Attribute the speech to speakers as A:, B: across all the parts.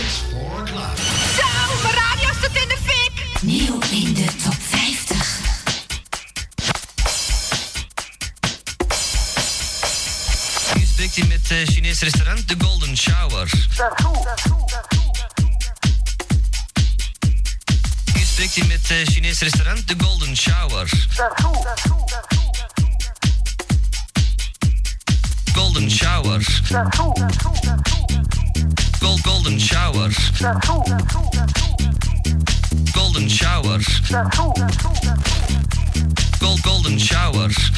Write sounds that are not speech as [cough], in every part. A: It's 4 o'clock.
B: Zo, mijn radio staat in de fik.
C: Nieuw in de top 50.
D: Nu spreekt hij met eh Chinees restaurant The Golden Shower. Nu spreekt hij met eh Chinees restaurant The Golden Shower. Golden Shower. Gold Golden Shower. Golden Shower. Gold Golden Shower.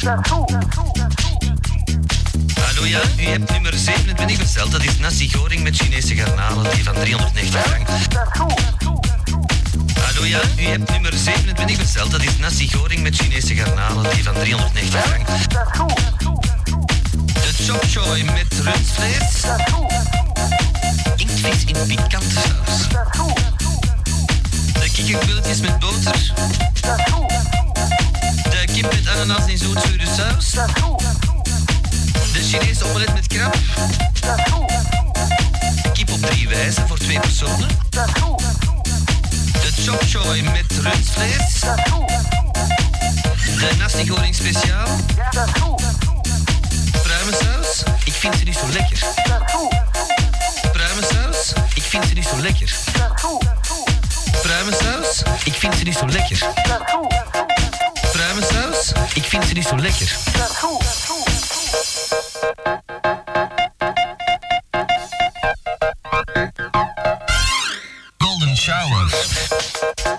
D: Hallo ja, u hebt nummer 27 besteld. Dat is nasi goreng met Chinese garnalen, die van 390 frank. Hallo ja, u hebt nummer 27 besteld. Dat is nasi goreng met Chinese garnalen, die van 390 frank. De chop choy met rundvlees. Inktvis in pikante saus. De kikkerbilletjes met boter. De kip met ananas in zootzure saus. De Chinese omelet met krab. Kip op drie wijzen voor twee personen. De chop choy met rundvlees. De nasi goreng speciaal. Pruimensaus. Ik vind ze niet zo lekker. Pruimensaus. Ik vind ze niet zo lekker. Pruimensaus. Ik vind ze niet zo lekker. Pruimensaus. Ik vind ze niet zo lekker. Golden Shower.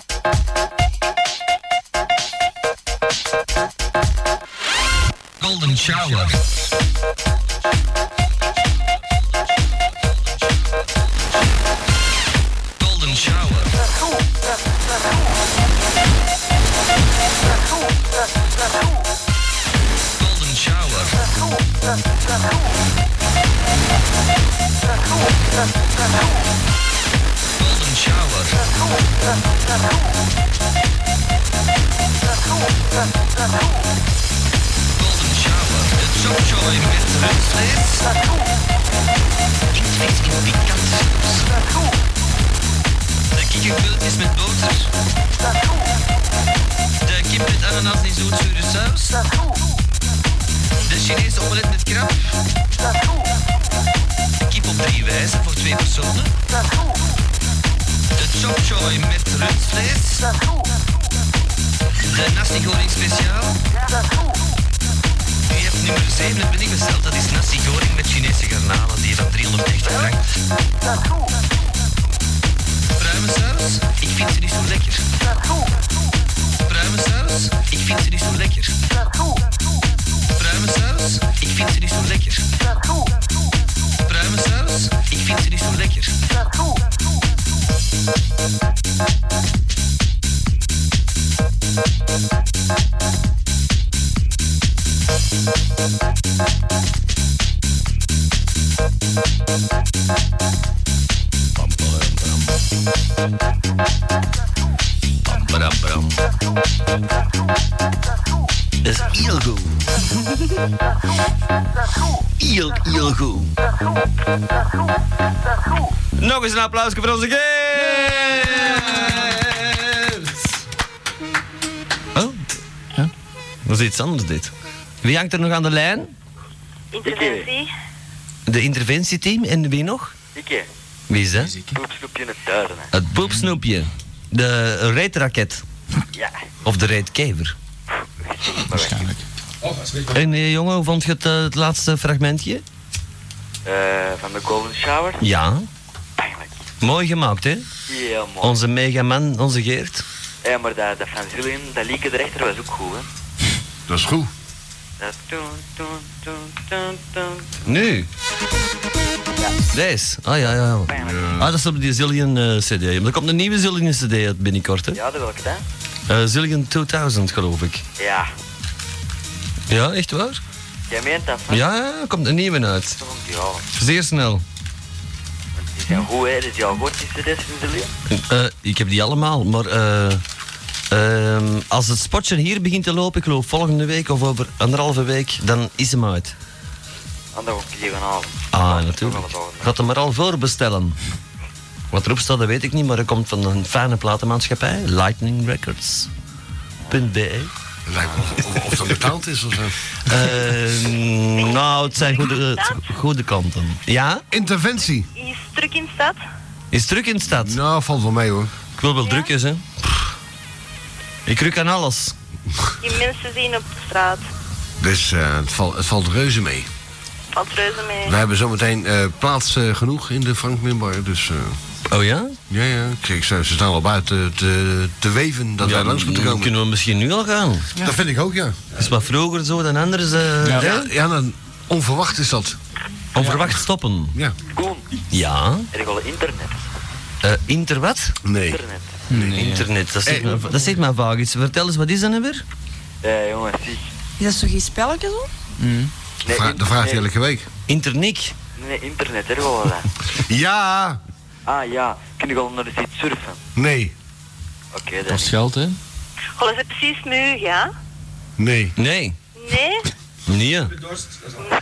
D: Golden Shower. Golden Shower. Golden Shower. Golden Shower. Golden Shower. De chop-choy met rundvlees. Inktvis in pikante saus. De kikkerbilletjes met boter. De kip met ananas in zootzure saus. De Chinese omelet met krab. Kip op drie wijzen voor twee personen. De chop choy met rundvlees. De nasi goreng speciaal. U hebt nummer 27 besteld. Dat is nasi goreng met Chinese garnalen. Die van 390 frank. Pruimensaus. Ik vind ze niet zo lekker. Pruimensaus. Ik vind ze niet zo lekker. Pruimensaus. Ik vind ze niet zo lekker. Pruimensaus. Ik vind ze niet zo lekker.
E: Bram, bram. Dat is heel goed. Heel, heel goed.
D: Nog eens een applausje voor onze Geert! Oh, ja. dat is iets anders dit. Wie hangt er nog aan de lijn?
F: Interventie.
D: De interventieteam en wie nog?
F: Ikke,
D: Wie is dat?
F: poepsnoepje in het duiden. Hè.
D: Het poepsnoepje. De reetraket.
F: Ja,
D: Of de reetkever.
E: Waarschijnlijk.
D: En eh, jongen, hoe vond je het, eh, het laatste fragmentje?
F: Eh, van de Golden Shower.
D: Ja.
F: Eigenlijk
D: Mooi gemaakt, hè?
F: heel mooi.
D: Onze megaman, onze Geert.
F: Ja, maar dat, dat van Zillion, dat Lieke de rechter was ook goed, hè.
E: Dat is goed.
F: Dat toen, toen, toen, toen, toen.
D: Nu. Deze. Ah, ja, ja. ja.
F: Pijnlijk.
D: Ah, dat is op die Zillion eh, CD. Maar er komt een nieuwe Zillion CD uit binnenkort. Hè?
F: Ja, de welke dan?
D: Eh, Zillion 2000, geloof ik.
F: Ja,
D: Ja, echt waar?
F: jij meent dat, hè?
D: Ja, ja, er komt een nieuwe uit.
F: Toch, Ja.
D: Zeer snel.
F: Die zijn goed, hè. Die zijn goed, die CD's van Zillion.
D: Eh, ik heb die allemaal, maar eh, ehm, als het spotje hier begint te lopen, ik geloof volgende week of over anderhalve week, dan is hem uit.
F: En dan ook die vanavond.
D: Ah,
F: Dat is
D: natuurlijk.
F: toch wel het
D: Gaat hem maar al voorbestellen. Wat erop staat, dat weet ik niet, maar dat komt van een fijne platenmaatschappij, Lightning Records.be. E.
E: Lijkt me of- of, of dat betaald is of zo.
D: Ehm, nou, het zijn goede, het- goede kanten. Ja?
A: Interventie.
G: Is druk in stad?
D: Is druk in de stad?
A: Nou, valt wel mee hoor.
D: Ik wil wel drukjes, hè. Pff. Ik ruk aan alles.
G: Die mensen zien op de straat.
A: Dus eh, het, valt, het valt reuze mee.
G: Valt reuze mee.
A: We hebben zometeen eh, plaats eh, genoeg in de Frank Minbar. Dus eh,
D: Oh ja?
A: ja, ja. Kijk, ze, ze staan al buiten te, te weven dat wij langs moeten
D: dan
A: komen.
D: Kunnen we misschien nu al gaan?
A: Dat vind ik ook, ja.
D: Is wat vroeger zo dan anders. eh,
A: Ja,
D: hè?
A: ja, dan onverwacht is dat.
D: Onverwacht stoppen.
A: Ja.
F: Koen,
D: Ja.
F: er al internet.
D: Eh inter wat?
A: Nee.
F: Internet.
D: Internet. Dat zegt, me, dat zegt me vaag iets. Vertel eens, wat is dat nou weer?
F: Ja, jongen, Eh, zie.
H: Is dat zo geen spelletje zo?
D: Mm.
F: Nee,
A: Vra-
F: in-
A: dat vraagt hij
F: nee,
A: elke week.
D: Internik.
F: Nee, internet, er wel. hè.
A: Ja.
F: Ah ja, kun je al naar de site surfen?
A: Nee.
F: Oké, dat
I: Kost
F: is
I: geld, hè?
G: Goh, is het precies nu, ja?
A: Nee.
D: Nee.
G: Nee?
D: Nee.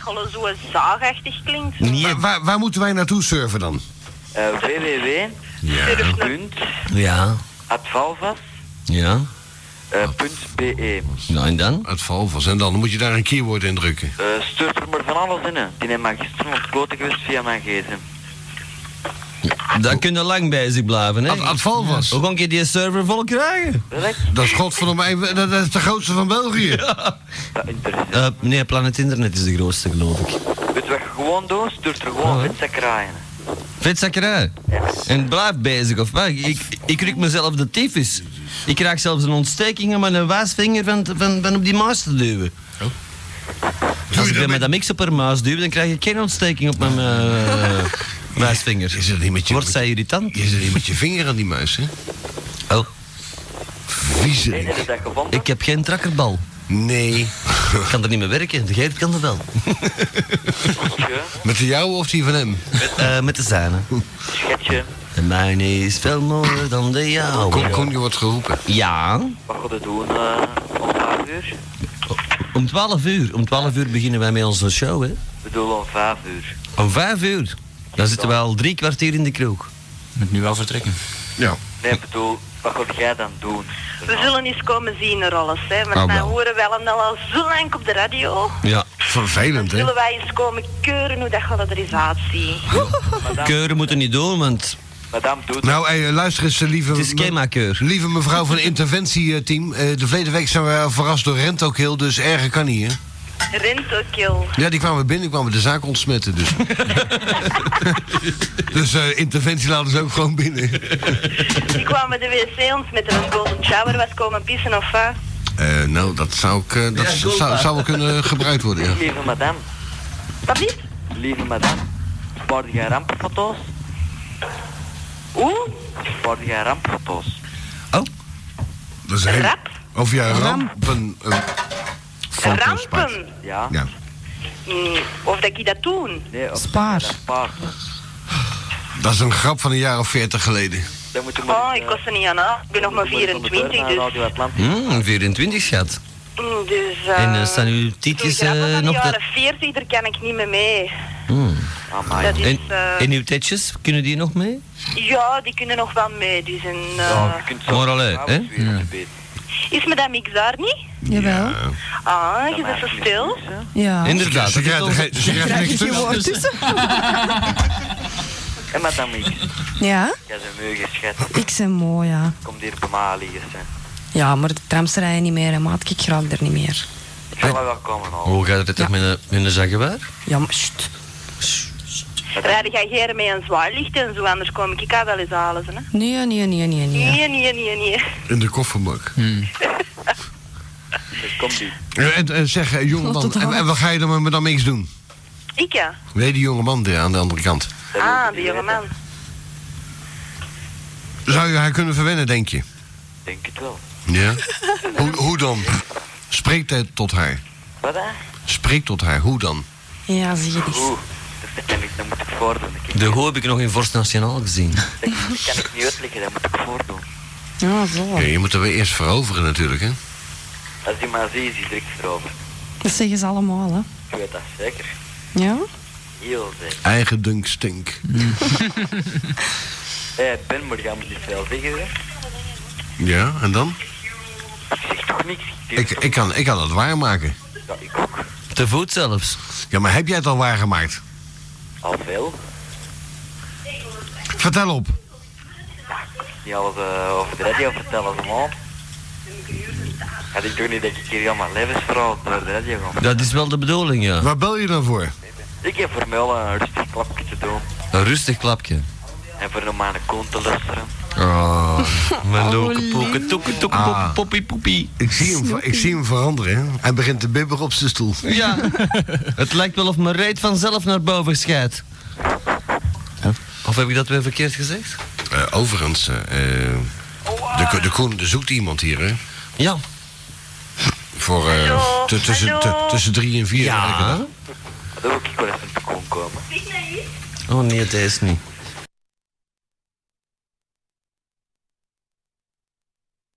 G: Goh, zo zaagachtig klinkt.
D: Nee.
A: Waar, waar, waar moeten wij naartoe surfen dan?
F: eh www.
G: Surf naar-
F: Punt,
D: Ja.
F: advalvas,
D: Ja.
F: eh, punt be.
D: Nou en dan?
A: Het Valvas. En dan moet je daar een keyword in drukken.
F: Eh stuurt er maar van alles in, hè. Die heeft mij gisteren op het kloten geweest via mijn gsm.
D: Daar kun je lang bezig blijven, hè?
A: Ad, Ad Valvas.
D: Hoe kan je die server vol krijgen?
F: Welk?
A: Dat is godverdomme even- dat dat is de grootste van België.
F: Dat interesseert.
D: Eh, nee, Planet Internet is de grootste, geloof ik.
F: Weet je wat je gewoon doet? Stuurt er gewoon
D: Ja.
F: met kraaien.
D: Vetzakkerij. En blijf bezig, of wat? Ik, ik ruk mezelf de tyfus. Ik krijg zelfs een ontsteking om mijn wijsvinger van, van, van op die muis te duwen.
A: Oh.
D: Als ik bij met dat X op haar muis duw, dan krijg ik geen ontsteking op mijn eh,
A: [laughs]
D: wijsvinger.
A: Is dat niet met je-
D: Wordt zij irritant?
A: Je zit hier met je vinger aan die muis, hè?
D: Oh,
F: Nee, heb je
A: Viezerik.
F: dat gevonden?
D: ik heb geen trakkerbal.
A: Nee.
D: Ik kan er niet mee werken. De Geert kan dat wel.
F: Schatje,
A: Met de jouwe of die van hem?
D: Eh, met de zijne.
F: schatje,
D: De mijne is veel mooier dan de
A: Kom,
D: jouwe.
A: kom, je wordt geroepen.
D: Ja,
F: wat gaat het doen eh, om 5 uur?
D: om 12 uur. Om 12 uur beginnen wij met onze show, hè?
F: We doen om 5 uur.
D: Om vijf uur? Dan zitten we al drie kwartier in de kroeg.
I: Moet nu wel vertrekken.
A: Ja.
F: Nee, bedoel, wat gaat jij dan doen?
G: We zullen eens komen zien er alles, hè. Want
D: Ah,
G: wij
D: wel.
G: horen wel en al zo lang op de radio.
D: Ja.
A: Vervelend, hè?
G: Zullen wij eens komen keuren hoe dat gaat er eens uitzien?
F: Madame,
D: Keuren moeten niet doen, want
F: madame doet
A: Nou, hey, luister eens, eh, lieve...
D: het is schemakeur.
A: Lieve mevrouw van het interventieteam, eh, de verleden week zijn we verrast door Rento Kill, dus erger kan niet, hè?
G: Rentokill.
A: Ja, die kwamen binnen, die kwamen de zaak ontsmetten, dus. dus eh, interventie laten ze ook gewoon binnen.
G: Die kwamen de wc ons met een golden shower was komen pissen of wat.
A: Eh, nou, dat zou, ik, eh, dat zou, zou wel kunnen gebruikt worden, ja.
F: Lieve madame,
G: Dat niet?
F: lieve madame, spaarde jij rampenfoto's?
G: Oeh,
F: Spaarde jij rampenfoto's?
A: Dat is een hele-
G: rap.
A: Of ja, rampen. eh, foto's maakt.
G: Rampen.
F: Ja?
A: Ja.
G: Mm, Of dat ik dat doen.
F: Nee, of
H: Spaar.
F: dat Spaar.
A: Dat is een grap van een jaar of veertig geleden.
F: Dan moet je maar...
G: Oh, ik kost er niet aan aan. Ik ben nog maar 24, dus...
F: Radio Atlantis.
D: Mm, 24 schat.
G: mm, dus eh,
D: En eh, staan uw tietjes
G: zo'n grappen
D: eh,
G: van de
D: nog...
G: jaren
D: te-
G: 40, daar kan ik niet meer mee.
F: Amai.
G: Dat is,
D: Ah, En,
G: eh,
D: en uw tetjes, kunnen die nog mee?
G: ja, die kunnen nog wel mee. Dus en, eh,
F: Ja, je kunt zo...
D: Maar allee, hè?
F: Ja.
G: Is me dat mix daar niet?
H: Jawel.
G: Ah, je bent zo stil. Ah.
H: Ja.
D: Inderdaad.
A: Ze
D: dat is
A: krijgt er
D: onze-
A: geen- ze krijgt er
H: Krijg
A: niks
H: je geen
A: tussen.
H: woord tussen?
F: En madame X,
H: Ja,
F: jij bent meugenschet.
H: ik ben mooi, ja.
F: Kom hier bij mij liggen, hè.
H: Ja, maar de trams rijden niet meer, hè, maat. Ik raak er niet meer.
F: Ik zal wel wel komen, al.
D: Hoe Oh, gaat het toch met een, met een zaggewaar?
H: Ja, maar sst.
G: Rijden jij hier met een zwaar licht en zo, anders kom ik ik kan wel eens halen. Hè?
H: Nee, nee, nee, nee, nee.
G: Nee, nee, nee, nee.
A: In de kofferbak.
F: Dus Kom die.
A: Eh, En, en zeg, eh,
H: Klopt
A: jongeman,
H: het
A: en,
H: wel?
A: en wat ga je dan met dan niks doen?
G: Ik ja.
A: Nee, die jongeman daar aan de andere kant.
F: Dat wil
G: Ah,
F: ik
G: de
F: niet
G: jonge
F: weten.
G: man.
A: Zou je haar kunnen verwennen, denk je?
F: Denk het wel.
A: Ja. [laughs] hoe, hoe dan? Spreek hij tot haar.
F: Wat, hè?
A: Spreek tot haar, hoe dan?
H: Ja, zie je die.
F: Oeh, dat kan ik, dat moet ik voordoen. Ik,
D: De hoe heb ik nog in Vorst Nationaal gezien.
F: dat kan ik niet uitleggen, dat moet ik voordoen.
H: Ja, zo.
A: Ja, je moet er weer eerst veroveren natuurlijk, hè?
F: Als die maar ziet, is die direct veroverd.
H: Dat zeggen ze allemaal, hè.
F: Ik weet dat zeker.
H: Ja?
F: Heel zeker.
A: Eigen dunk stink.
F: Hé, Ben, maar jij moet niet veel zeggen, hè.
A: Ja, en dan?
F: Ik zeg toch niks. Ik,
A: Ik, ik, kan, ik kan het waarmaken.
F: ja, ik ook.
D: Te voet zelfs.
A: Ja, maar heb jij het al waargemaakt?
F: Al veel.
A: Vertel op.
F: Niet alles eh, over de radio vertellen, allemaal. Had ik toch niet dat ik hier allemaal levensverhaal door de radio ga.
D: Dat is wel de bedoeling, ja.
A: Waar bel je dan voor?
F: Ik heb voor mij wel een rustig klapje te doen.
D: Een rustig klapje.
F: En voor een mijn koon te luisteren.
D: Oh, mijn doeke poeke, toeke toeke
A: Ah.
D: poeke, poppie poepie.
A: Ik zie hem, ver- ik zie hem veranderen. hè. Hij begint te bibberen op zijn stoel.
D: Ja, het lijkt wel of mijn reet vanzelf naar boven schijt. Of heb ik dat weer verkeerd gezegd?
A: Eh, overigens, eh, eh, de, Ko- de Koen zoekt iemand hier, hè?
D: Ja.
A: Voor eh,
G: Hallo,
A: t- tussen,
G: hallo.
A: t- tussen drie en vier.
D: Ja.
A: werken, hè?
F: Dat wil ik wel even te koon komen.
D: Oh nee, deze niet.